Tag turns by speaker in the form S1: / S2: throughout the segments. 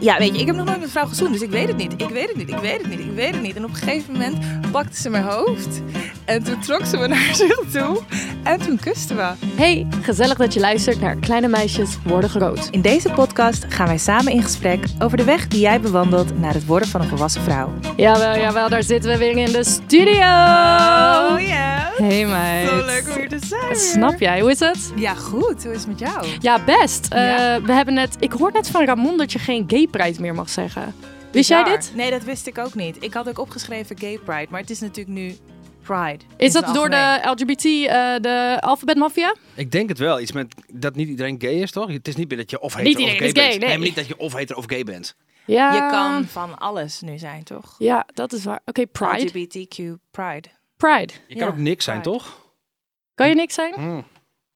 S1: Ja, weet je, ik heb nog nooit met een vrouw gezoend, dus ik weet het niet. Ik weet het niet, ik weet het niet, ik weet het niet. En op een gegeven moment pakte ze mijn hoofd. En toen trok ze me naar zich toe. En toen kusten we.
S2: Hey, gezellig dat je luistert naar Kleine Meisjes Worden Groot.
S1: In deze podcast gaan wij samen in gesprek over de weg die jij bewandelt naar het worden van een volwassen vrouw.
S2: Jawel, jawel, daar zitten we weer in de studio.
S1: Oh ja.
S2: Hey meid.
S1: Zo leuk om hier te zijn. weer.
S2: Snap jij, hoe is het?
S1: Ja, goed. Hoe is het met jou?
S2: Ja, best. Eh,
S1: Ja.
S2: we hebben net, ik hoor net van Ramon dat je geen gay pride meer mag zeggen. Wist jij
S1: Bizar.
S2: dit?
S1: Nee, dat wist ik ook niet. Ik had ook opgeschreven gay pride, maar het is natuurlijk nu pride.
S2: Is
S1: In
S2: dat
S1: het
S2: door de
S1: algemeen.
S2: LGBT, eh, de alfabet mafia?
S3: Ik denk het wel. Iets met dat niet iedereen gay is, toch? Het is niet meer dat je of hetero
S2: Niet
S3: of
S2: iedereen
S3: gay
S2: is gay,
S3: bent.
S2: nee.
S3: maar niet dat je of hetero of gay bent.
S2: Ja.
S1: Je kan van alles nu zijn, toch?
S2: Ja, dat is waar. Oké, pride.
S1: LGBTQ pride.
S2: Pride.
S3: Je
S1: Ja,
S3: kan ook niks zijn,
S1: right.
S3: toch?
S2: Kan je niks zijn?
S3: Hm,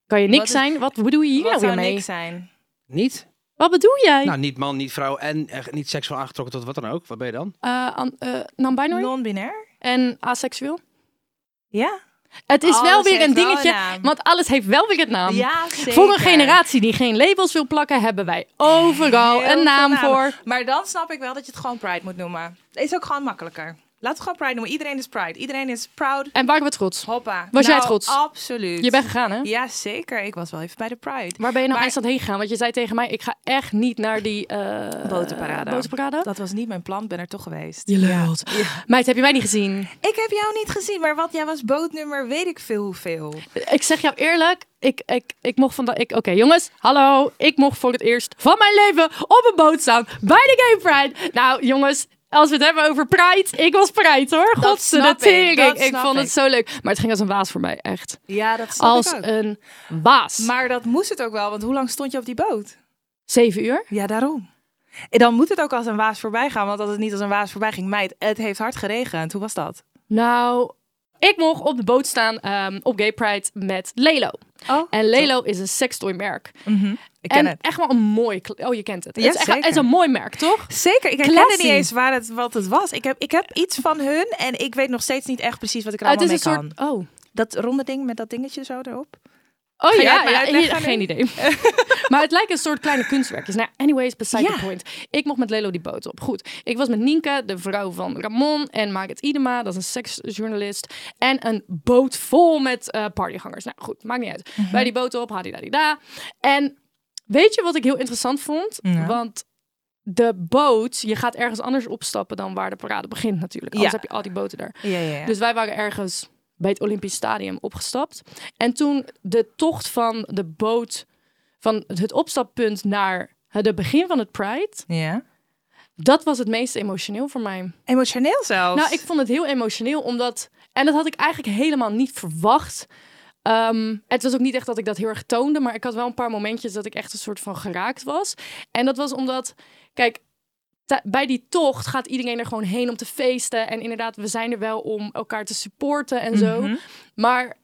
S2: Kan je niks
S1: Wat is-
S2: zijn? Wat bedoel je hier
S1: Wat
S2: nou weer
S1: zou
S2: mee?
S1: niks zijn?
S3: Niet?
S2: Wat bedoel jij?
S3: Nou, niet man, niet vrouw en eh, niet seksueel aangetrokken tot wat dan ook. Wat ben je dan?
S2: Eh, an- eh, Non-binary
S1: Non-binair?
S2: en aseksueel?
S1: Ja.
S2: Het is wel
S1: Alles
S2: weer
S1: heeft
S2: een
S1: wel een
S2: dingetje,
S1: naam.
S2: want alles heeft wel weer een naam.
S1: Ja, zeker.
S2: Voor een generatie die geen labels wil plakken, hebben wij overal
S1: Heel
S2: een naam
S1: veel namen.
S2: voor.
S1: Maar dan snap ik wel dat je het gewoon Pride moet noemen. Is ook gewoon makkelijker. Laten we het gewoon Pride noemen. Iedereen is Pride. Iedereen is proud.
S2: En waren we trots?
S1: Hoppa.
S2: Eh, Was jij
S1: Nou,
S2: trots?
S1: Absoluut.
S2: Je bent gegaan, hè?
S1: Ja, zeker. Ik was wel even bij de Pride.
S2: Waar ben je nou
S1: Maar-
S2: eindstand heen gegaan? Want je zei tegen mij, ik ga echt niet naar die... eh
S1: Boterparade.
S2: Boterparade?
S1: Dat was niet mijn plan. Ben er toch geweest.
S2: Je lult. Meid, heb je mij niet gezien?
S1: Ik heb jou niet gezien, maar wat jij was bootnummer weet ik veel hoeveel.
S2: Ik zeg jou eerlijk, ik, ik, ik mocht vandaag... ik- Oké, jongens, hallo. Ik mocht voor het eerst van mijn leven op een boot staan bij de Gay Pride. Nou, jongens... Als we het hebben over Pride, ik was Pride hoor.
S1: Dat
S2: Godse
S1: snap ik,
S2: tering.
S1: dat
S2: Ik
S1: snap
S2: vond het
S1: ik.
S2: zo leuk. Maar het ging als een waas voor mij, echt.
S1: Ja, dat snap
S2: als
S1: ik ook.
S2: een baas.
S1: eh, Maar dat moest het ook wel, want hoe lang stond je op die boot?
S2: Zeven uur?
S1: Ja, daarom. En dan moet het ook als een waas voorbij gaan, want als het niet als een waas voorbij ging, meid, het heeft hard geregend. Hoe was dat?
S2: Nou, ik mocht op de boot staan ehm, op Gay Pride met Lelo.
S1: Oh,
S2: En Lelo is een sextoymerk.
S1: ik ken
S2: en
S1: het.
S2: echt wel een mooi... kle- Oh, je kent het.
S1: Ja,
S2: het, is echt, wel-
S1: zeker.
S2: het is een mooi merk, toch?
S1: Zeker, ik herkende
S2: Classy.
S1: niet eens waar het, wat het was. Ik heb, ik heb iets van hun en ik weet nog steeds niet echt precies wat ik er
S2: het
S1: allemaal
S2: is
S1: mee
S2: een
S1: kan.
S2: soort... Oh,
S1: Dat ronde ding met dat dingetje zo erop.
S2: oh
S1: jij
S2: ja,
S1: het me
S2: ja,
S1: uitleggen
S2: hier-
S1: nu?
S2: geen idee. maar het lijkt een soort kleine kunstwerkjes. Nou, anyways, beside
S1: Ja.
S2: the point. Ik mocht met Lelo die boot op. Goed, ik was met Nienke, de vrouw van Ramon en Margaret Idema. Dat is een seksjournalist. En een boot vol met eh, partygangers. Nou goed, maakt niet uit.
S1: Mhm.
S2: Bij die boot op, hadidadida. En weet je wat ik heel interessant vond?
S1: Ja.
S2: Want de boot, je gaat ergens anders opstappen dan waar de parade begint natuurlijk. Anders
S1: Ja.
S2: heb je al die boten daar.
S1: Ja, ja, ja.
S2: Dus wij waren ergens bij het Olympisch Stadion opgestapt. En toen de tocht van de boot, van het opstappunt naar het begin van het Pride,
S1: ja.
S2: dat was het meest emotioneel voor mij.
S1: Emotioneel zelfs.
S2: Nou, ik vond het heel emotioneel, omdat, en dat had ik eigenlijk helemaal niet verwacht. Ehm, het was ook niet echt dat ik dat heel erg toonde, maar ik had wel een paar momentjes dat ik echt een soort van geraakt was. En dat was omdat, kijk, ta- bij die tocht gaat iedereen er gewoon heen om te feesten. En inderdaad, we zijn er wel om elkaar te supporten en zo.
S1: Mhm.
S2: Maar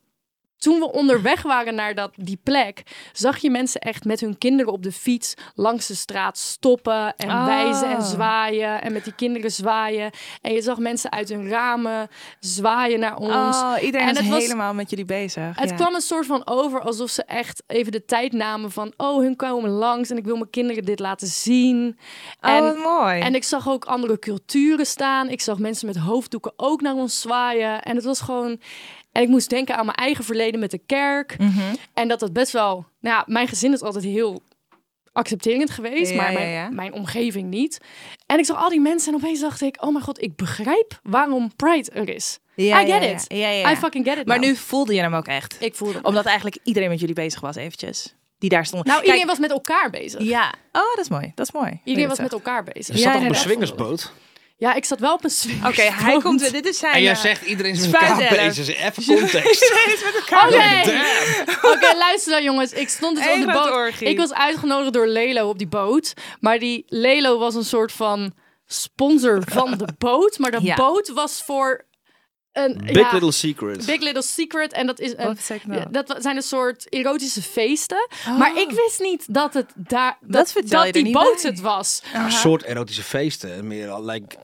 S2: toen we onderweg waren naar dat, die plek, zag je mensen echt met hun kinderen op de fiets langs de straat stoppen en
S1: Ah.
S2: wijzen en zwaaien. En met die kinderen zwaaien. En je zag mensen uit hun ramen zwaaien naar ons.
S1: Oh, iedereen
S2: En
S1: is
S2: het was-
S1: helemaal met jullie bezig.
S2: Het
S1: ja.
S2: kwam een soort van over alsof ze echt even de tijd namen van, oh, hun komen langs en ik wil mijn kinderen dit laten zien.
S1: Oh,
S2: en
S1: wat mooi.
S2: en ik zag ook andere culturen staan. Ik zag mensen met hoofddoeken ook naar ons zwaaien. En het was gewoon. En ik moest denken aan mijn eigen verleden met de kerk.
S1: Mhm.
S2: En dat dat best wel. Nou ja, mijn gezin is altijd heel accepterend geweest,
S1: Ja,
S2: maar
S1: ja,
S2: mijn,
S1: ja.
S2: mijn omgeving niet. En ik zag al die mensen en opeens dacht ik: oh mijn god, ik begrijp waarom Pride er is.
S1: Ja,
S2: I get
S1: ja,
S2: it.
S1: ja. Ja, ja, ja.
S2: I fucking get it.
S1: Maar
S2: now.
S1: nu voelde je hem ook echt.
S2: ik voelde. Hem.
S1: Omdat eigenlijk iedereen met jullie bezig was eventjes. Die daar stonden.
S2: Nou,
S1: Kijk,
S2: iedereen was met elkaar bezig.
S1: Ja. Oh, dat is mooi. Dat is mooi.
S2: Iedereen was met elkaar bezig.
S3: Je staat
S1: ja,
S3: op een
S1: dat
S2: Dat vond ik-
S3: swingersboot.
S2: Ja, ik zat wel op een swing.
S1: Oké, hij komt weer. Dit is zijn.
S3: En jij
S1: eh,
S3: zegt iedereen is met
S1: Spuit
S3: elkaar
S1: erg.
S3: bezig. Even context.
S1: Iedereen is met elkaar.
S2: Oh, nee.
S3: Damn.
S2: Oké, luister dan jongens. Ik stond dus
S1: Eén
S2: op die
S1: grote
S2: boot.
S1: orgie.
S2: Ik was uitgenodigd door Lelo op die boot. Maar die Lelo was een soort van sponsor van de boot. Maar de
S1: Ja.
S2: boot was voor een...
S3: Big
S2: ja,
S3: Little Secret.
S2: Big Little Secret. En dat is een...
S1: Wat zeg ik nou? Oh.
S2: Ja, dat wa- zijn een soort erotische feesten. Maar ik wist niet dat het daar dat, dat,
S1: vertel je er
S2: die
S1: niet
S2: boot
S1: bij. Oh.
S2: het was.
S3: Een soort erotische feesten. Meer like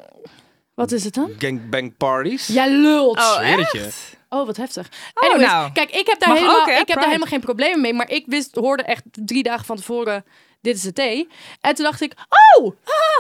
S2: Wat is het dan?
S3: gangbang parties.
S2: Jij lult.
S1: Oh,
S3: Zweer het je.
S1: echt?
S2: Oh, wat heftig.
S1: Oh,
S2: Anyways,
S1: nou.
S2: Kijk, ik heb daar,
S1: Mag
S2: helemaal,
S1: ook, hè,
S2: ik heb daar
S1: Pride.
S2: helemaal geen problemen mee. Maar ik wist, hoorde echt drie dagen van tevoren... Dit is de thee. En toen dacht ik... Oh! ah,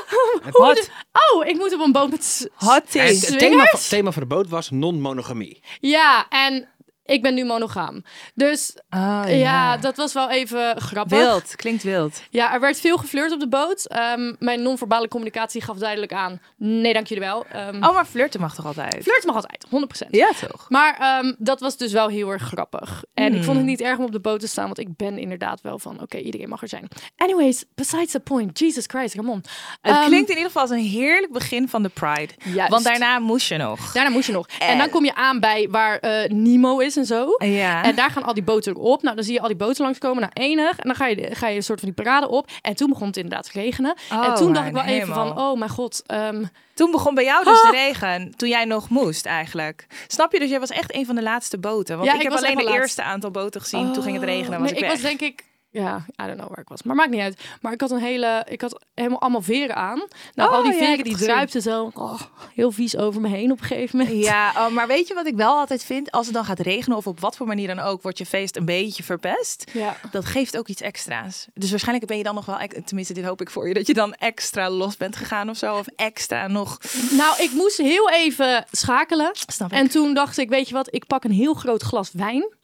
S2: hoe
S1: Hot.
S2: moet- oh, ik moet op een boot met... s-
S1: Hot
S3: En
S1: tea.
S3: het
S2: Swingers?
S3: thema van, thema van de boot was non-monogamie.
S2: Ja, en ik ben nu monogaam. Dus
S1: Oh,
S2: ja, dat was wel even grappig.
S1: Wild. Klinkt wild.
S2: Ja, er werd veel geflirt op de boot. Ehm, mijn non-verbale communicatie gaf duidelijk aan... Nee, dank jullie wel. Ehm
S1: Oh, maar flirten mag toch altijd?
S2: Flirt mag altijd, 100%.
S1: Ja, toch?
S2: Maar ehm, dat was dus wel heel erg grappig. En ik
S1: Hmm.
S2: vond het niet erg om op de boot te staan, want ik ben inderdaad wel van, oké, iedereen mag er zijn. Anyways, besides the point, Jesus Christ, Ramon.
S1: Het
S2: Ehm, dus-
S1: klinkt in ieder geval als een heerlijk begin van de Pride.
S2: Juist.
S1: Want daarna moest je nog.
S2: Daarna moest je nog. En dan kom je aan bij waar eh, Nemo is en zo.
S1: Ja.
S2: En daar gaan al die boten op. Nou, dan zie je al die boten langskomen naar enig. En dan ga je, ga je een soort van die parade op. En toen begon het inderdaad te regenen.
S1: Oh,
S2: en toen dacht ik
S1: mijn
S2: wel even
S1: hemel.
S2: van, oh mijn god. ehm,
S1: Toen begon bij jou dus
S2: Ah!
S1: de regen, toen jij nog moest eigenlijk. Snap je? Dus jij was echt een van de laatste boten. Want
S2: Ja,
S1: ik,
S2: ik
S1: heb
S2: was
S1: alleen
S2: echt
S1: de
S2: wel laatst.
S1: eerste aantal boten gezien. toen ging het regenen, was
S2: Oh. nee,
S1: ik
S2: ik
S1: weg.
S2: was denk ik... Ja, I don't know waar ik was. Maar maakt niet uit. Maar ik had een hele... Ik had helemaal allemaal veren aan. Nou,
S1: Oh,
S2: al die
S1: ja, ik
S2: veren
S1: heb
S2: die
S1: het gezien.
S2: druipten zo. oh, heel vies over me heen op een gegeven moment.
S1: Ja, oh, maar weet je wat ik wel altijd vind? Als het dan gaat regenen of op wat voor manier dan ook, wordt je feest een beetje verpest.
S2: Ja.
S1: Dat geeft ook iets extra's. Dus waarschijnlijk ben je dan nog wel, ex- tenminste dit hoop ik voor je, dat je dan extra los bent gegaan of zo. Of extra nog.
S2: Nou, ik moest heel even schakelen.
S1: Snap ik.
S2: En toen dacht ik, weet je wat? Ik pak een heel groot glas wijn.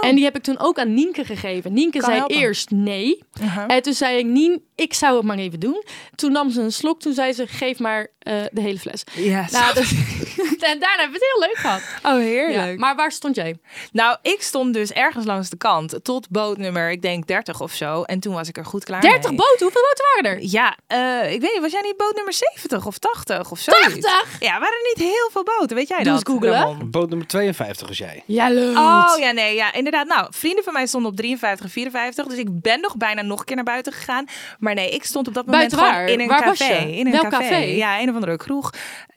S2: En die heb ik toen ook aan Nienke gegeven. Nienke
S1: Oh. Kan
S2: zei
S1: helpen. Uh-huh.
S2: eerst nee. En toen zei ik, Nien, ik zou het maar even doen. Toen nam ze een slok. Toen zei ze, geef maar eh, de hele fles.
S1: Ja,
S2: Nou, dat- en daarna hebben we het heel leuk gehad.
S1: oh
S2: Ja,
S1: heerlijk.
S2: maar waar stond jij?
S1: Nou, ik stond dus ergens langs de kant tot bootnummer, ik denk 30 of zo. En toen was ik er goed klaar
S2: 30
S1: mee.
S2: boten? Hoeveel boten waren er?
S1: Ja, eh, ik weet niet, was jij niet boot nummer 70 of 80 of zo?
S2: 80?
S1: Ja, waren er niet heel veel boten, weet jij
S2: Doe
S1: dat?
S2: eens googlen.
S1: Ramon?
S3: Boot nummer 52 is jij.
S2: Ja, leuk.
S1: Oh ja, nee, ja, inderdaad. Nou, vrienden van mij stonden op 53, 54. Dus ik ben nog bijna nog een keer naar buiten gegaan. Maar nee, ik stond op dat moment
S2: Buiten waar?
S1: gewoon in een
S2: Waar was
S1: café.
S2: je?
S1: In een
S2: Welk café?
S1: Ja, een of andere kroeg.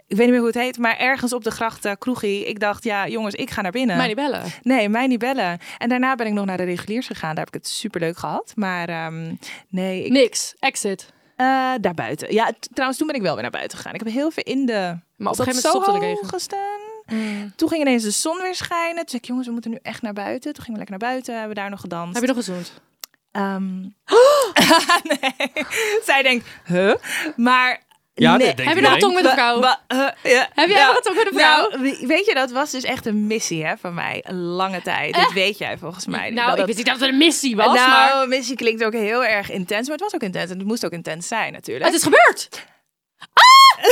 S1: Ik weet niet meer hoe het heet, maar ergens op de grachten, kroegie. Ik dacht, ja, jongens, ik ga naar binnen.
S2: Mij niet bellen.
S1: Nee, mij niet bellen. En daarna ben ik nog naar de reguliers gegaan. Daar heb ik het superleuk gehad. Maar ehm, nee, ik,
S2: Niks. Exit.
S1: eh, daarbuiten. Ja, t- trouwens, toen ben ik wel weer naar buiten gegaan. Ik heb heel veel in de.
S2: Maar
S1: was
S2: op een
S1: dat
S2: gegeven moment stopte de
S1: Soho
S2: regen. Mm.
S1: gestaan. Toen ging ineens de zon weer schijnen. Toen zei ik, jongens, we moeten nu echt naar buiten. Toen gingen we lekker naar buiten. Hebben we daar nog gedanst.
S2: Heb je Oh! nog gezoend?
S1: Ehm, nee. Zij denkt, huh? Maar.
S3: Ja,
S1: nee.
S3: dat denk
S2: Heb je
S3: ik.
S2: nog een tong met een vrouw?
S1: Wa- wa- huh? Ja.
S2: Heb jij
S1: Nou,
S2: nog een tong met een vrouw?
S1: Nou, we- weet je, dat was dus echt een missie hè, van mij. Een lange tijd. Dat weet jij volgens mij.
S2: Eh. nou,
S1: Dat-
S2: ik
S1: dat-
S2: wist niet dat het een missie was,
S1: nou,
S2: maar...
S1: missie klinkt ook heel erg intens, maar het was ook intens en het moest ook intens zijn natuurlijk.
S2: Het is gebeurd! Ah!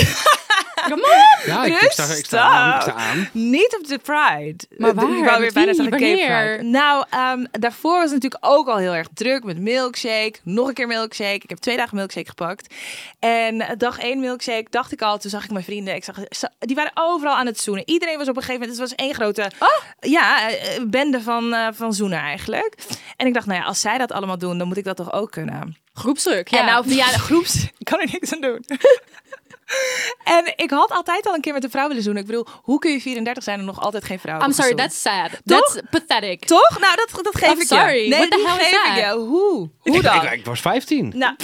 S2: Come on!
S3: Ja, ik, ik sta, ik sta aan. Ik sta aan.
S1: Niet op de Pride.
S2: Maar
S1: Eh,
S2: waar?
S1: Ik wou weer
S2: Met
S1: bijna
S2: wie?
S1: zeggen Cape
S2: Wanneer?
S1: Pride. Nou, ehm, daarvoor was het natuurlijk ook al heel erg druk met milkshake. Nog een keer milkshake. Ik heb twee dagen milkshake gepakt. En eh, dag één milkshake dacht ik al. Toen zag ik mijn vrienden. Ik zag, za- die waren overal aan het zoenen. Iedereen was op een gegeven moment. Het was één grote
S2: Oh.
S1: ja, eh, eh, bende van, eh van zoenen eigenlijk. En ik dacht, nou ja, als zij dat allemaal doen, dan moet ik dat toch ook kunnen.
S2: Groepsdruk,
S1: En
S2: ja.
S1: nou, via de groeps, ik kan er niks aan doen. en ik had altijd al een keer met een vrouw willen zoenen. Ik bedoel, hoe kun je 34 zijn en nog altijd geen vrouw
S2: I'm
S1: hebben
S2: sorry,
S1: gezoend?
S2: that's sad.
S1: Toch?
S2: That's pathetic.
S1: Toch? Nou, dat, dat geef
S2: I'm
S1: ik
S2: sorry,
S1: je. Nee,
S2: what the
S1: die
S2: hell is
S1: geef
S2: that?
S1: ik je. Hoe? Hoe
S3: Ik,
S1: dan?
S3: ik, ik was 15.
S1: Nou,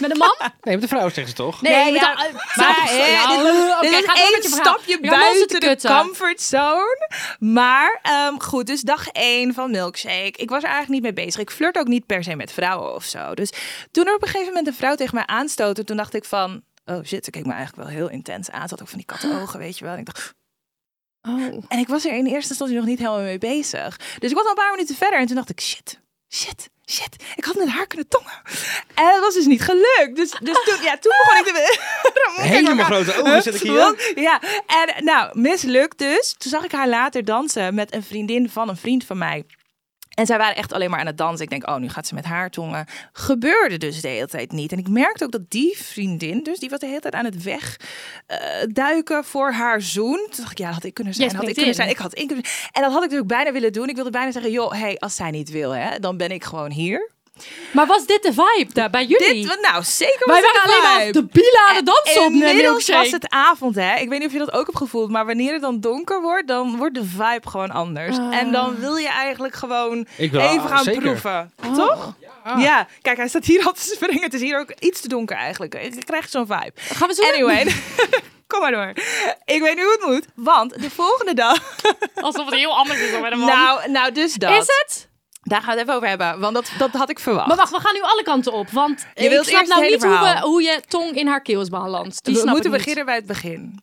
S2: Met een man?
S3: Nee, met de vrouw zegt ze toch?
S2: Nee,
S1: Nee,
S2: met
S1: ja,
S2: een-
S1: maar
S2: Sorry,
S1: hè,
S2: nou,
S1: dit was- dit
S2: oké,
S1: was
S2: ga door
S1: één
S2: met je verhaal.
S1: stapje
S2: Ramon zit te
S1: buiten de
S2: kutten.
S1: comfortzone. Maar ehm, goed, dus dag één van Milkshake. Ik was er eigenlijk niet mee bezig. Ik flirt ook niet per se met vrouwen of zo. Dus toen er op een gegeven moment een vrouw tegen mij aanstootte, toen dacht ik van... Oh shit, ze keek me eigenlijk wel heel intens aan. Ze had ook van die kattenogen, weet je wel. En ik dacht...
S2: Oh.
S1: En ik was er in eerste instantie nog niet helemaal mee bezig. Dus ik was al een paar minuten verder en toen dacht ik, shit, shit, shit. Ik had met haar kunnen tongen. En dat was dus niet gelukt. Dus, dus toen, ja, toen begon ik te... Ramon, kijk me
S3: Helemaal
S1: aan.
S3: grote ogen zit ik hier.
S1: Want- Ja, en nou, mislukt dus. Toen zag ik haar later dansen met een vriendin van een vriend van mij. En zij waren echt alleen maar aan het dansen. Ik denk, oh, nu gaat ze met haar tongen. Gebeurde dus de hele tijd niet. En ik merkte ook dat die vriendin, dus die was de hele tijd aan het wegduiken duiken voor haar zoen. Toen dacht ik, ja, dat had ik kunnen zijn.
S2: Jij
S1: had ik
S2: springt
S1: kunnen zijn. Ik had in kunnen zijn. En dat had ik natuurlijk bijna willen doen. Ik wilde bijna zeggen, joh, hey, als zij niet wil, hè, dan ben ik gewoon hier.
S2: Maar was dit de vibe daar bij jullie?
S1: Dit, nou, zeker was
S2: Wij
S1: het
S2: waren
S1: een
S2: alleen maar
S1: vibe.
S2: de bielen
S1: Eh,
S2: aan het dansen op de
S1: Inmiddels
S2: milkshake.
S1: was het avond, hè. Ik weet niet of je dat ook hebt gevoeld, maar wanneer het dan donker wordt, dan wordt de vibe gewoon anders.
S2: Ah.
S1: En dan wil je eigenlijk gewoon
S3: Ik wil-
S1: even gaan
S3: zeker.
S1: proeven.
S2: Oh.
S1: Toch? Ja. Kijk, hij staat hier al te springen. Het is hier ook iets te donker eigenlijk. Ik krijg zo'n vibe.
S2: Gaan we zo
S1: Anyway. Kom maar door. Ik weet nu hoe het moet, want de volgende dag...
S2: Alsof het heel anders is dan bij de man.
S1: Nou, nou dus dat.
S2: is het?
S1: Daar gaan we het even over hebben, want dat, dat had ik verwacht.
S2: Maar wacht, we gaan nu alle kanten op. Want
S1: Je wilt
S2: ik snap
S1: eerst
S2: nou
S1: het
S2: niet
S1: hele
S2: hoe, we,
S1: verhaal.
S2: hoe je tong in haar keel is beland. Die
S1: we
S2: snap
S1: moeten
S2: ik niet.
S1: beginnen bij het begin.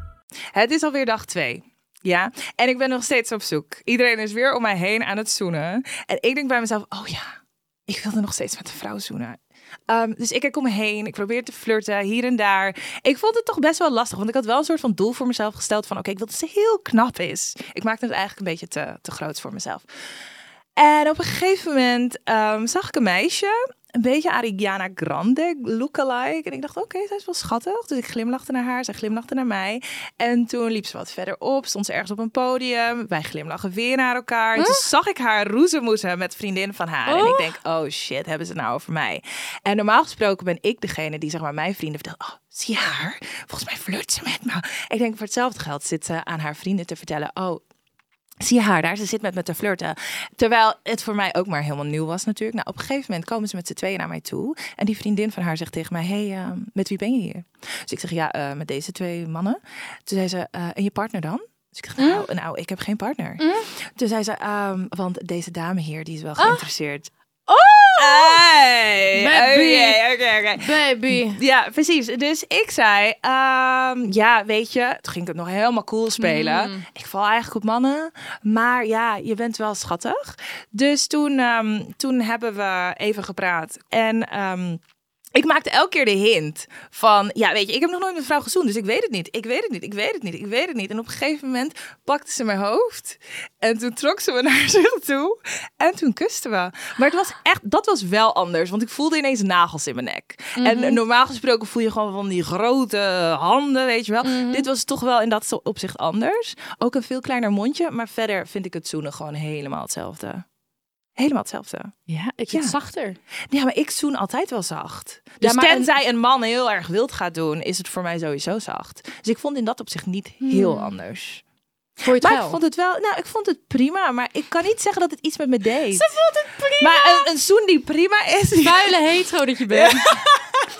S1: Het is alweer dag twee. Ja, en ik ben nog steeds op zoek. Iedereen is weer om mij heen aan het zoenen. En ik denk bij mezelf, oh ja, ik wilde nog steeds met een vrouw zoenen. Ehm, dus ik kijk om me heen, ik probeer te flirten, hier en daar. Ik vond het toch best wel lastig, want ik had wel een soort van doel voor mezelf gesteld van... oké, ik wil dat ze heel knap is. Ik maakte het eigenlijk een beetje te, te groot voor mezelf. En op een gegeven moment ehm, zag ik een meisje, een beetje Ariana Grande lookalike. En ik dacht, oké, zij is wel schattig. Dus ik glimlachte naar haar, zij glimlachte naar mij. En toen liep ze wat verderop, stond ze ergens op een podium. Wij glimlachen weer naar elkaar. En toen zag ik haar roezemoezen met vriendin van haar. En ik denk, oh shit, hebben ze het nou over mij? En normaal gesproken ben ik degene die zeg maar mijn vrienden vertelt, oh, zie je haar? Volgens mij flirt ze met me. Ik denk, voor hetzelfde geld zit ze aan haar vrienden te vertellen, oh, Zie je haar daar, ze zit met me te flirten. Terwijl het voor mij ook maar helemaal nieuw was natuurlijk. Nou, op een gegeven moment komen ze met z'n tweeën naar mij toe. En die vriendin van haar zegt tegen mij, hey, ehm, met wie ben je hier? Dus ik zeg, ja, eh, met deze twee mannen. Toen zei ze, eh, en je partner dan? Dus ik dacht, nou, nou, ik heb geen partner. Toen zei ze, ehm, want deze dame hier, die is wel geïnteresseerd. Oh!
S2: Baby.
S1: Oké, Oh, oké, oké.
S2: Baby.
S1: Ja, precies. Dus ik zei, ehm, ja, weet je, toen ging ik het nog helemaal cool spelen. Ik val eigenlijk op mannen, maar ja, je bent wel schattig. Dus toen, ehm, toen hebben we even gepraat en... ehm, ik maakte elke keer de hint van, ja, weet je, ik heb nog nooit met een vrouw gezoend, dus ik weet het niet, ik weet het niet, ik weet het niet, ik weet het niet. En op een gegeven moment pakte ze mijn hoofd en toen trok ze me naar zich toe en toen kusten we. Maar het was echt, dat was wel anders, want ik voelde ineens nagels in mijn nek. En normaal gesproken voel je gewoon van die grote handen, weet je wel. Dit was toch wel in dat zo- opzicht anders. Ook een veel kleiner mondje, maar verder vind ik het zoenen gewoon helemaal hetzelfde. Helemaal hetzelfde.
S2: Ja, ik
S1: Ja.
S2: vind het zachter.
S1: Ja, maar ik zoen altijd wel zacht. Dus
S2: maar een-
S1: tenzij een man heel erg wild gaat doen, is het voor mij sowieso zacht. Dus ik vond in dat opzicht niet heel anders.
S2: Voor je het
S1: Hmm. Maar
S2: wel.
S1: ik vond het wel, nou, ik vond het prima, maar ik kan niet zeggen dat het iets met me deed.
S2: Ze vond het prima.
S1: Maar een, een zoen die prima is.
S2: Vuile hetero dat je bent.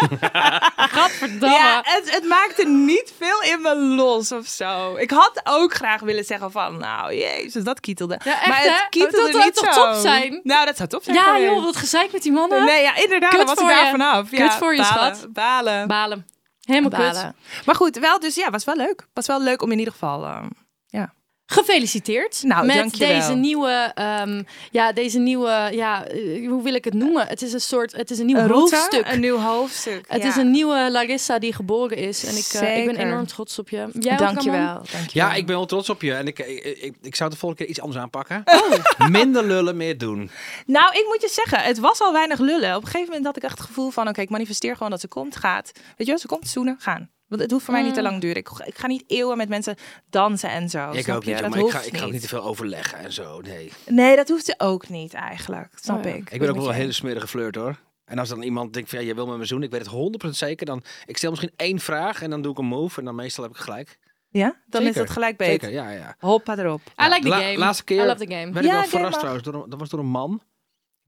S2: Gadverdamme.
S1: Ja, het, het maakte niet veel in me los of zo. Ik had ook graag willen zeggen van, nou, jezus, dat kietelde.
S2: Ja, echt,
S1: maar het
S2: hè?
S1: kietelde
S2: Dat zou
S1: niet
S2: toch
S1: zo.
S2: top zijn?
S1: Nou, dat zou top zijn
S2: Ja,
S1: geweest.
S2: joh, wat gezeik met die mannen.
S1: Nee, ja, inderdaad, dan
S2: Kut
S1: was ik
S2: voor
S1: daar
S2: je.
S1: vanaf. Ja,
S2: Kut voor je,
S1: balen,
S2: schat.
S1: Balen.
S2: Balen. Helemaal kut.
S1: Balen. Maar goed, wel, dus ja, was wel leuk. Was wel leuk om in ieder geval. ehm, ja.
S2: Gefeliciteerd
S1: Nou,
S2: met
S1: dankjewel.
S2: deze nieuwe, ehm, ja, deze nieuwe, ja, eh, hoe wil ik het noemen? Het is een soort, het is een nieuw hoofdstuk.
S1: Een nieuw hoofdstuk.
S2: het
S1: ja.
S2: is een nieuwe Larissa die geboren is. En ik, eh, ik ben
S1: Zeker.
S2: enorm trots op je. Jij ook, Ramon?
S1: Dankjewel. dankjewel.
S3: Ja, ik ben wel trots op je. En ik, ik, ik, ik zou de volgende keer iets anders aanpakken.
S1: Oh.
S3: Minder lullen, meer doen.
S1: Nou, ik moet je zeggen, het was al weinig lullen. Op een gegeven moment had ik echt het gevoel van: oké, ik manifesteer gewoon dat ze komt, gaat. Weet je wel, ze komt zoenen, gaan. Want het hoeft voor mij
S2: Mm.
S1: niet te lang duren. Ik, ik ga niet eeuwen met mensen dansen en zo.
S3: ik
S1: snap
S3: ook
S1: je?
S3: niet, joh,
S1: dat
S3: maar ik
S1: hoeft
S3: ga, ik ga ook
S1: niet.
S3: niet te veel overleggen en zo. Nee.
S1: Nee, dat hoeft ze ook niet eigenlijk. Snap
S2: Oh ja.
S1: ik.
S3: Ik ben ook
S1: met
S3: wel een
S1: je
S3: hele smerige flirt hoor. En als dan iemand denkt van ja, je wil met me zoenen, ik weet het 100% zeker, dan ik stel misschien één vraag en dan doe ik een move en dan meestal heb ik gelijk.
S1: eens. Ja, dan is
S3: Zeker,
S1: dat gelijk
S3: Zeker,
S1: beter.
S3: ja, ja.
S1: Hoppa erop.
S2: I like the
S3: La-
S2: game.
S3: Laatste keer
S2: I love the game.
S3: werd
S1: Ja,
S3: ik wel
S1: game
S3: verrast
S1: mag.
S3: trouwens. Door, een- dat was door een man.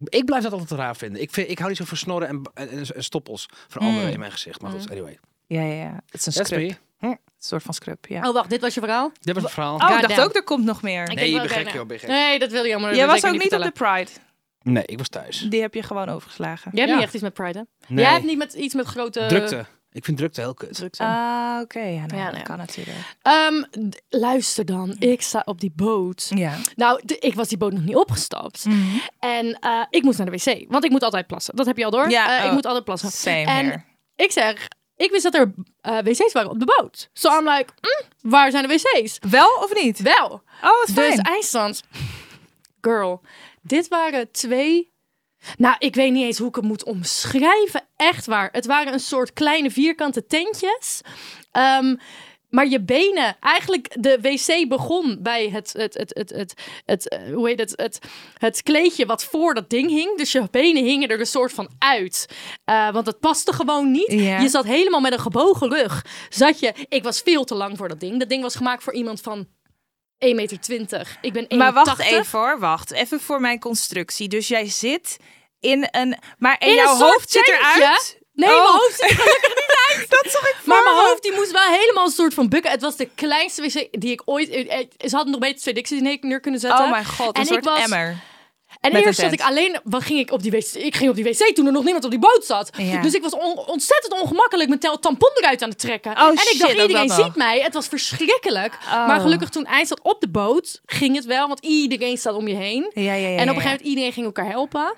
S3: Ik blijf dat altijd raar vinden. Ik, vind, ik hou niet zo van snorren en, en, en- en stoppels van
S1: Hmm.
S3: anderen in mijn gezicht. Maar goed, anyway.
S1: Ja, ja, ja. Het is een
S3: That's
S1: scrub.
S3: me.
S1: Een soort van scrub, ja.
S2: Oh, wacht, dit was je verhaal?
S3: Dit was het verhaal.
S1: Oh, ik
S2: Goddamn.
S1: dacht ook, er komt nog meer.
S2: Ik
S3: Nee,
S2: denk
S3: je
S2: wel
S3: bent
S2: dat
S3: gek,
S2: jij-
S3: joh, ben je gek.
S2: Nee, dat wil je allemaal
S1: Jij was
S2: zeker
S1: ook niet op de
S2: vertellen.
S1: Pride.
S3: Nee, ik was thuis.
S1: Die heb je gewoon overgeslagen.
S2: Jij hebt
S3: Ja.
S2: niet echt iets met Pride, hè?
S3: Nee.
S2: Jij hebt niet met, iets met grote...
S3: Drukte. Ik vind drukte heel kut.
S2: Eh, drukte.
S1: Ah, oké. Ja, nou,
S2: Ja,
S1: dat
S2: nou.
S1: kan natuurlijk.
S2: Ehm, d- luister dan, ik sta op die boot.
S1: Ja.
S2: Nou, d- ik was die boot nog niet opgestapt. En eh, ik moest naar de wc, want ik moet altijd plassen. Dat heb je al door.
S1: Ja,
S2: Eh,
S1: oh.
S2: ik moet altijd plassen.
S1: Same
S2: en
S1: here.
S2: ik zeg, ik wist dat er eh, wc's waren op de boot. So I'm like, "Mm, waar zijn de wc's?
S1: Wel of niet?
S2: Wel.
S1: Oh, wat fijn.
S2: Dus eindstand, girl, dit waren twee... Nou, ik weet niet eens hoe ik het moet omschrijven. Echt waar. Het waren een soort kleine vierkante tentjes. Ehm, maar je benen, eigenlijk de wc begon bij het, het, het, het, het, het, eh, hoe heet het, het, het kleedje wat voor dat ding hing. Dus je benen hingen er een soort van uit. Eh, want het paste gewoon niet.
S1: Ja.
S2: Je zat helemaal met een gebogen rug. Zat je, ik was veel te lang voor dat ding. Dat ding was gemaakt voor iemand van 1,20 meter. Ik ben 1,80.
S1: maar wacht even hoor, wacht. Even voor mijn constructie. Dus jij zit in een... Maar en
S2: In een
S1: jouw
S2: soort
S1: hoofd zit
S2: tentje?
S1: eruit?
S2: Nee,
S1: Oh.
S2: mijn hoofd zit er gelukkig niet uit.
S1: Dat zag ik
S2: Maar
S1: voor
S2: mijn
S1: me.
S2: hoofd die moest wel helemaal een soort van bukken. Het was de kleinste wc die ik ooit... eh, eh, Ze hadden nog beter twee dikste neer kunnen zetten.
S1: Oh mijn god, een
S2: en
S1: soort
S2: ik was,
S1: emmer.
S2: En
S1: met
S2: eerst
S1: een
S2: zat
S1: tent.
S2: ik alleen... Wat ging ik, op die wc, ik ging op die wc toen er nog niemand op die boot zat.
S1: Ja.
S2: Dus ik was on- ontzettend ongemakkelijk mijn tel- tampon eruit aan het trekken.
S1: Oh,
S2: en
S1: shit,
S2: ik dacht,
S1: ook
S2: iedereen
S1: dat Oh. nog.
S2: ziet mij. Het was verschrikkelijk. Maar gelukkig toen eind zat op de boot, ging het wel. Want iedereen staat om je heen.
S1: Ja, ja, ja,
S2: en op
S1: ja,
S2: een gegeven moment iedereen ging elkaar helpen.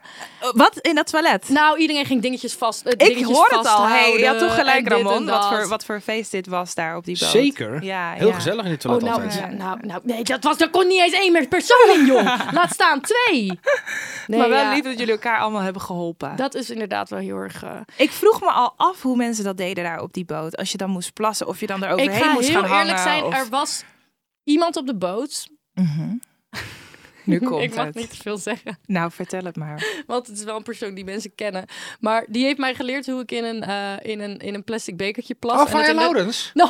S1: Wat? In dat toilet?
S2: Nou, iedereen ging dingetjes vast. eh,
S1: ik
S2: dingetjes
S1: hoor het al. Hey,
S2: vasthouden
S1: je had toch
S2: en
S1: gelijk,
S2: dit en
S1: Ramon. Wat
S2: dat.
S1: voor, wat voor feest dit was daar op die boot.
S3: Zeker.
S1: Ja,
S3: heel
S1: ja.
S3: gezellig in het
S2: Oh,
S3: toilet
S2: nou,
S3: altijd.
S2: nou, nou, nou, nee, dat was, er kon niet eens één meer persoon in, joh. Laat staan twee. Nee,
S1: maar wel
S2: ja,
S1: lief dat jullie elkaar allemaal hebben geholpen.
S2: Dat is inderdaad wel heel erg. eh,
S1: Ik vroeg me al af hoe mensen dat deden daar op die boot. Als je dan moest plassen of je dan er
S2: Ik
S1: overheen
S2: ga
S1: moest
S2: heel
S1: gaan hangen.
S2: eerlijk zijn.
S1: of-
S2: Er was iemand op de boot.
S1: Nu komt
S2: ik mag
S1: het.
S2: niet te veel zeggen,
S1: Nou, vertel het maar.
S2: want het is wel een persoon die mensen kennen. Maar die heeft mij geleerd hoe ik in een, eh, in een, in een plastic bekertje plas.
S3: Oh,
S2: En dat
S3: Fire
S2: in de-
S3: Laurens?
S2: Nou,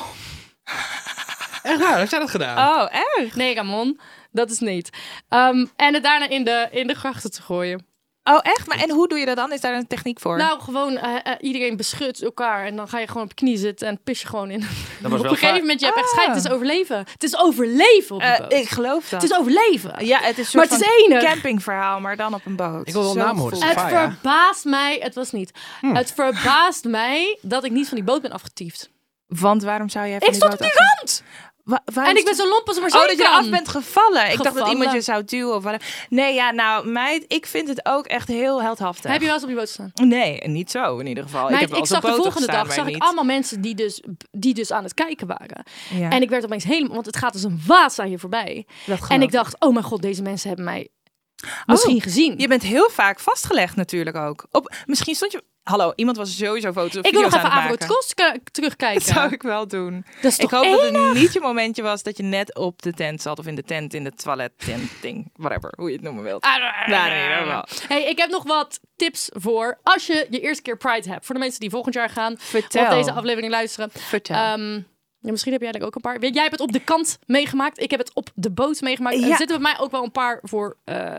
S3: Echt waar, heeft zij dat gedaan?
S1: Oh, erg.
S2: nee, Ramon, dat is niet. Ehm, en het daarna in de, in de grachten te gooien.
S1: Oh, echt? Maar en hoe doe je dat dan? Is daar een techniek voor?
S2: Nou, gewoon eh, eh, iedereen beschut elkaar en dan ga je gewoon op je knie zitten en pis je gewoon in.
S3: was
S2: op
S3: wel
S2: een gegeven
S3: vaak.
S2: moment, je hebt echt scheid. Het is overleven. Het is overleven op de
S1: Ah. Eh,
S2: boot.
S1: ik geloof dat.
S2: Het is overleven.
S1: ja, het is een
S2: Maar
S1: soort
S2: het is
S1: van
S2: enig.
S1: campingverhaal, maar dan op een boot.
S3: Ik wil wel
S1: Zo
S3: naam horen.
S1: voelt
S3: Het
S2: Het
S3: Fire.
S2: verbaast mij, het was niet.
S1: Hm.
S2: Het verbaast mij dat ik niet van die boot ben afgetiefd.
S1: Want waarom zou jij van
S2: Ik
S1: die
S2: stond op
S1: boot
S2: die
S1: af-
S2: rand!
S1: Wa- waarom
S2: En ik ben
S1: stond-
S2: zo lomp als maar
S1: Oh,
S2: zijn
S1: dat je
S2: kan.
S1: eraf bent gevallen. Ik dacht dat
S2: Gevallen.
S1: iemand je zou duwen of wat. Nee, ja, nou, meid, ik vind het ook echt heel heldhaftig.
S2: Heb je wel eens op die boot gestaan?
S1: Nee, niet zo in ieder geval. Oh, ik heb
S2: Meid,
S1: wel
S2: ik,
S1: eens
S2: zag
S1: op
S2: de
S1: boten
S2: volgende
S1: gestaan, maar
S2: dag zag ik
S1: niet.
S2: allemaal mensen die dus, die dus aan het kijken waren.
S1: Ja.
S2: En ik werd opeens helemaal, want het gaat als een waas aan je voorbij.
S1: Dat geloof
S2: en ik
S1: ik.
S2: dacht, oh mijn god, deze mensen hebben mij misschien gezien.
S1: Oh. Je bent heel vaak vastgelegd natuurlijk ook. Op, misschien stond je... Hallo, iemand was sowieso foto's of
S2: Ik wil nog
S1: video's
S2: even
S1: aan het
S2: Avro
S1: maken.
S2: Trost ke- terugkijken.
S1: Dat zou ik wel doen.
S2: Dat is
S1: ik
S2: toch
S1: hoop dat het niet je momentje was dat je net op de tent zat. Of in de tent, in de toilet, tent, ding. Whatever, hoe je het noemen
S2: Ah,
S1: wilt. Nou, nee, dat wel.
S2: Hey, ik heb nog wat tips voor als je je eerste keer Pride hebt. Voor de mensen die volgend jaar gaan
S1: Vertel.
S2: of deze aflevering luisteren.
S1: Vertel.
S2: Ehm, ja, misschien heb jij er ook een paar. Weet- Jij hebt het op de kant meegemaakt. Ik heb het op de boot meegemaakt.
S1: Ja.
S2: Er zitten bij mij ook wel een paar voor eh,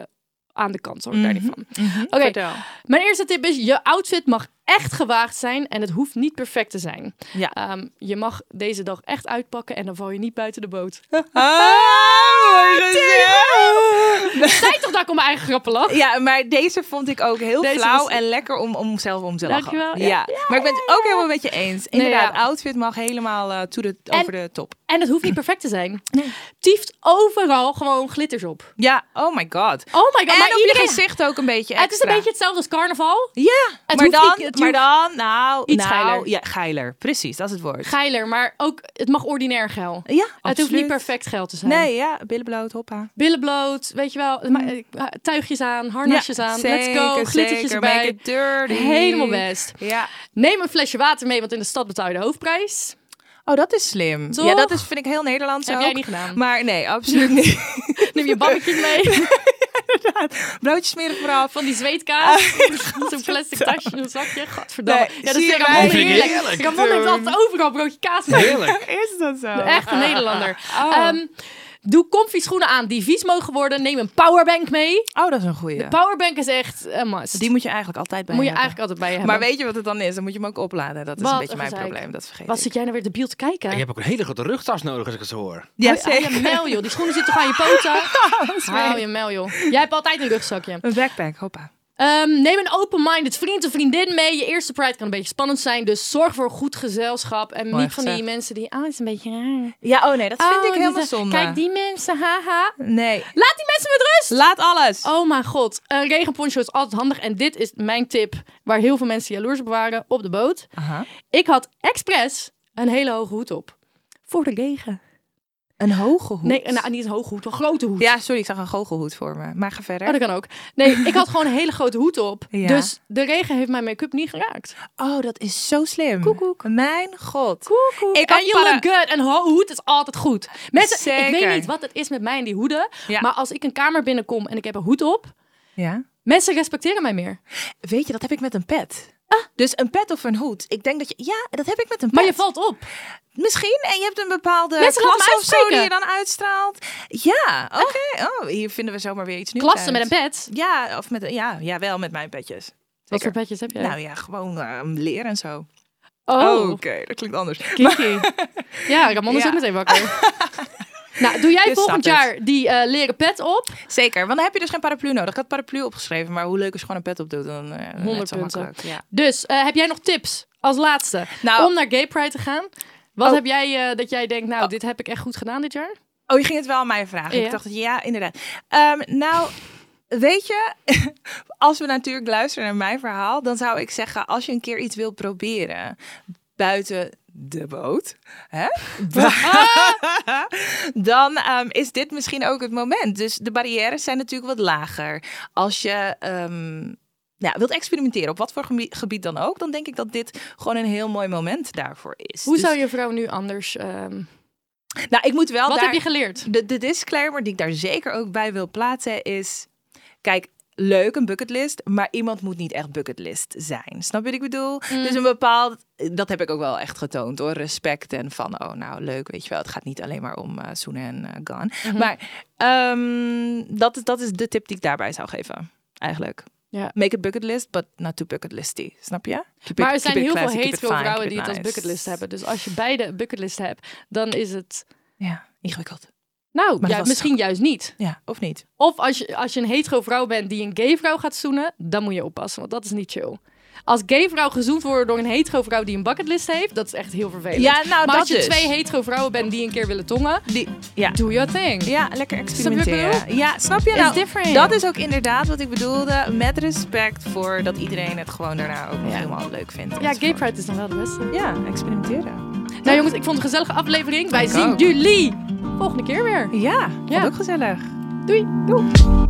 S2: aan de kant. Hoor, daar niet van. Oké,
S1: Mhm, Vertel.
S2: mijn eerste tip is: je outfit mag echt gewaagd zijn en het hoeft niet perfect te zijn.
S1: Ja.
S2: Ehm, je mag deze dag echt uitpakken en dan val je niet buiten de boot.
S1: Ah, mooi
S2: ah.
S1: gezegd.
S2: Zij toch dat ik om mijn eigen grappen lach?
S1: Ja, maar deze vond ik ook heel
S2: Deze
S1: flauw
S2: was-
S1: en lekker om, om zelf om te lachen. Ja.
S2: Dankjewel, ja.
S1: maar ik ben het ook helemaal met je eens. Inderdaad,
S2: ja.
S1: outfit mag helemaal eh, to the, over de top.
S2: En het hoeft niet perfect te zijn. Tieft overal gewoon glitters op.
S1: Ja, oh my god.
S2: Oh my god,
S1: en
S2: maar
S1: op
S2: iedereen- Ah,
S1: je gezicht ook een beetje
S2: Het is een
S1: extra.
S2: beetje hetzelfde als carnaval.
S1: Ja,
S2: Het
S1: maar
S2: hoeft
S1: dan,
S2: niet- het
S1: maar
S2: hoeft-
S1: dan, nou,
S2: Iets
S1: nou,
S2: geiler.
S1: Ja, geiler, precies, dat is het woord.
S2: Geiler, maar ook het mag ordinair geil.
S1: ja,
S2: Het hoeft niet perfect geil te zijn.
S1: Nee, ja, billen bloot, hoppa.
S2: Billen bloot, weet je wel. maar, eh, Tuigjes aan, harnasjes
S1: Ja,
S2: aan. Let's
S1: zeker,
S2: go, glittertjes
S1: zeker, make
S2: erbij.
S1: it dirty.
S2: Helemaal best.
S1: Ja.
S2: Neem een flesje water mee, want in de stad betaal je de hoofdprijs.
S1: Oh, dat is slim.
S2: Toch?
S1: Ja, dat is, vind ik heel Nederlands
S2: Heb
S1: ook.
S2: jij niet gedaan.
S1: Maar nee, absoluut niet.
S2: Neem je babbetjes mee
S1: Broodjes smeren vooraf.
S2: van die zweetkaas. Zo'n plastic tasje, zo'n zakje. Gadverdamme.
S1: Ah, Nee,
S2: ja, dat
S1: zie
S2: is
S1: je mij?
S2: Ramon
S3: Vind ik
S2: heerlijk.
S3: heerlijk.
S2: Oh. Ramon heeft altijd overal broodje kaas mee.
S3: Heerlijk.
S1: Oh. Is dat zo? Oh.
S2: Echt een Nederlander. Ehm, Doe comfy schoenen aan die vies mogen worden. Neem een powerbank mee.
S1: Oh, dat is een goeie.
S2: De powerbank is echt een must.
S1: Die moet je eigenlijk altijd bij
S2: moet je
S1: je hebben.
S2: eigenlijk altijd bij je hebben.
S1: Maar weet je wat het dan is? Dan moet je hem ook opladen. Dat is
S2: Wat
S1: een beetje
S2: een
S1: mijn
S2: gezeik.
S1: probleem. Dat vergeet
S2: Wat
S1: ik.
S2: zit jij nou weer debiel te kijken?
S3: Je hebt ook een hele grote rugtas nodig als ik het zo hoor.
S1: Ja, Oh,
S2: Hou je- hou je mel, joh. Die schoenen zitten toch aan je poten? Hou je mel, joh. Jij hebt altijd een rugzakje.
S1: Een backpack, hoppa.
S2: Ehm, neem een open-minded vriend of vriendin mee. Je eerste Pride kan een beetje spannend zijn. Dus zorg voor goed gezelschap. En
S1: Mooi
S2: niet van die
S1: gezegd.
S2: mensen die... Oh, is een beetje raar.
S1: Ja, oh nee, dat
S2: Oh,
S1: vind ik
S2: dit-
S1: helemaal zonde.
S2: Kijk, die mensen, haha.
S1: Nee.
S2: Laat die mensen met rust!
S1: Laat alles.
S2: Oh mijn god, een regenponcho is altijd handig. En dit is mijn tip waar heel veel mensen jaloers op waren op de boot.
S1: Aha.
S2: Ik had expres een hele hoge hoed op. Voor de regen.
S1: Een hoge hoed.
S2: Nee, nou, niet een hoge hoed, een grote hoed.
S1: Ja, sorry, ik zag een goochelhoed voor me. Maar ga verder.
S2: Oh, dat kan ook. Nee, ik had gewoon een hele grote hoed op.
S1: Ja.
S2: Dus de regen heeft mijn make-up niet geraakt.
S1: Oh, dat is zo slim. Koekoek. Mijn god.
S2: Koekoek.
S1: Ik
S2: En
S1: had
S2: je
S1: para-
S2: look good. En ho- hoed is altijd goed. Mensen, ik
S1: Zeker.
S2: weet niet wat het is met mij en die hoeden.
S1: Ja.
S2: Maar als ik een kamer binnenkom en ik heb een hoed op,
S1: Ja.
S2: mensen respecteren mij meer.
S1: Weet je, dat heb ik met een pet. Dus een pet of een hoed. Ik denk dat je... Ja, dat heb ik met een pet.
S2: Ah. Maar je valt op.
S1: Misschien. En je hebt een bepaalde
S2: Mensen laten me
S1: klasse of zo die
S2: uitspreken. Ah.
S1: je dan uitstraalt. Ja, oké. Oh, hier vinden we zomaar weer iets nieuws
S2: Klassen met
S1: uit.
S2: een pet.
S1: Ja, of met, ja, ja, wel met mijn petjes.
S2: Wat voor
S1: Zeker.
S2: petjes heb jij?
S1: Nou ja, gewoon eh, leer en zo.
S2: oh,
S1: Oké, dat klinkt anders.
S2: Kiki. ja, Ramon is
S1: Ja.
S2: ook meteen wakker. nou, doe jij
S1: Je
S2: volgend
S1: snapt het.
S2: jaar die eh, leren pet op?
S1: Zeker, want dan heb je dus geen paraplu nodig. Ik had paraplu opgeschreven, maar hoe leuk is gewoon een pet op doen. Dan, eh, net
S2: 100
S1: zo
S2: punten.
S1: makkelijk. Ja.
S2: Dus eh, heb jij nog tips als laatste
S1: Nou-
S2: om naar Gay Pride te gaan? Wat
S1: Oh.
S2: heb jij eh, dat jij denkt, nou, dit heb ik echt goed gedaan dit jaar?
S1: Oh, je ging het wel aan mij vragen.
S2: Ja.
S1: Ik dacht, dat- ja, inderdaad. Ehm, nou, weet je, als we natuurlijk luisteren naar mijn verhaal, dan zou ik zeggen, als je een keer iets wil proberen buiten de boot, hè? dan ehm, is dit misschien ook het moment. Dus de barrières zijn natuurlijk wat lager. Als je ehm, ja, wilt experimenteren op wat voor gebi- gebied dan ook, dan denk ik dat dit gewoon een heel mooi moment daarvoor is.
S2: Hoe
S1: Dus-
S2: zou je vrouw nu anders... ehm,
S1: Nou, ik moet wel
S2: wat
S1: daar...
S2: heb je geleerd?
S1: De, de disclaimer die ik daar zeker ook bij wil plaatsen is... Kijk, leuk een bucketlist, maar iemand moet niet echt bucketlist zijn. Snap je wat ik bedoel?
S2: Mm.
S1: Dus een bepaald... Dat heb ik ook wel echt getoond hoor. Respect en van, oh nou leuk, weet je wel. Het gaat niet alleen maar om eh zoenen en eh, gaan.
S2: Mhm.
S1: Maar ehm, dat, is, dat is de tip die ik daarbij zou geven. Eigenlijk.
S2: Ja.
S1: Make it bucketlist, but not too bucketlisty. Snap je? Keep it-
S2: Maar er
S1: keep
S2: zijn
S1: it
S2: heel veel
S1: classy, keep it
S2: hetero
S1: fine, keep
S2: vrouwen
S1: it
S2: die het als
S1: nice.
S2: bucketlist hebben. Dus als je beide bucketlist hebt, dan is het...
S1: Ja, ingewikkeld.
S2: Nou,
S1: dat
S2: ja,
S1: was-
S2: misschien juist niet.
S1: Ja, of niet?
S2: Of als je, als je een hetero vrouw bent die een gay vrouw gaat zoenen, dan moet je oppassen, want dat is niet chill. Als gay vrouw gezoend worden door een hetero vrouw die een bucketlist heeft, dat is echt heel vervelend.
S1: Ja, nou,
S2: maar
S1: dat
S2: als je
S1: dus.
S2: twee hetero vrouwen bent die een keer willen tongen,
S1: Die, ja.
S2: do your thing.
S1: Ja, lekker
S2: wat ik
S1: experimenteren. Ja, snap je nou?
S2: different.
S1: Dat is ook inderdaad wat ik bedoelde. Met respect voor dat iedereen het gewoon daarna ook nog helemaal leuk vindt.
S2: Ja, gay pride is dan wel de beste.
S1: Ja, experimenteren.
S2: Nou jongens, ik vond het een gezellige aflevering. Wij
S1: Ik
S2: zien
S1: ook.
S2: jullie volgende keer weer.
S1: Ja, vond
S2: Ja.
S1: ook gezellig.
S2: Doei.
S1: Doei.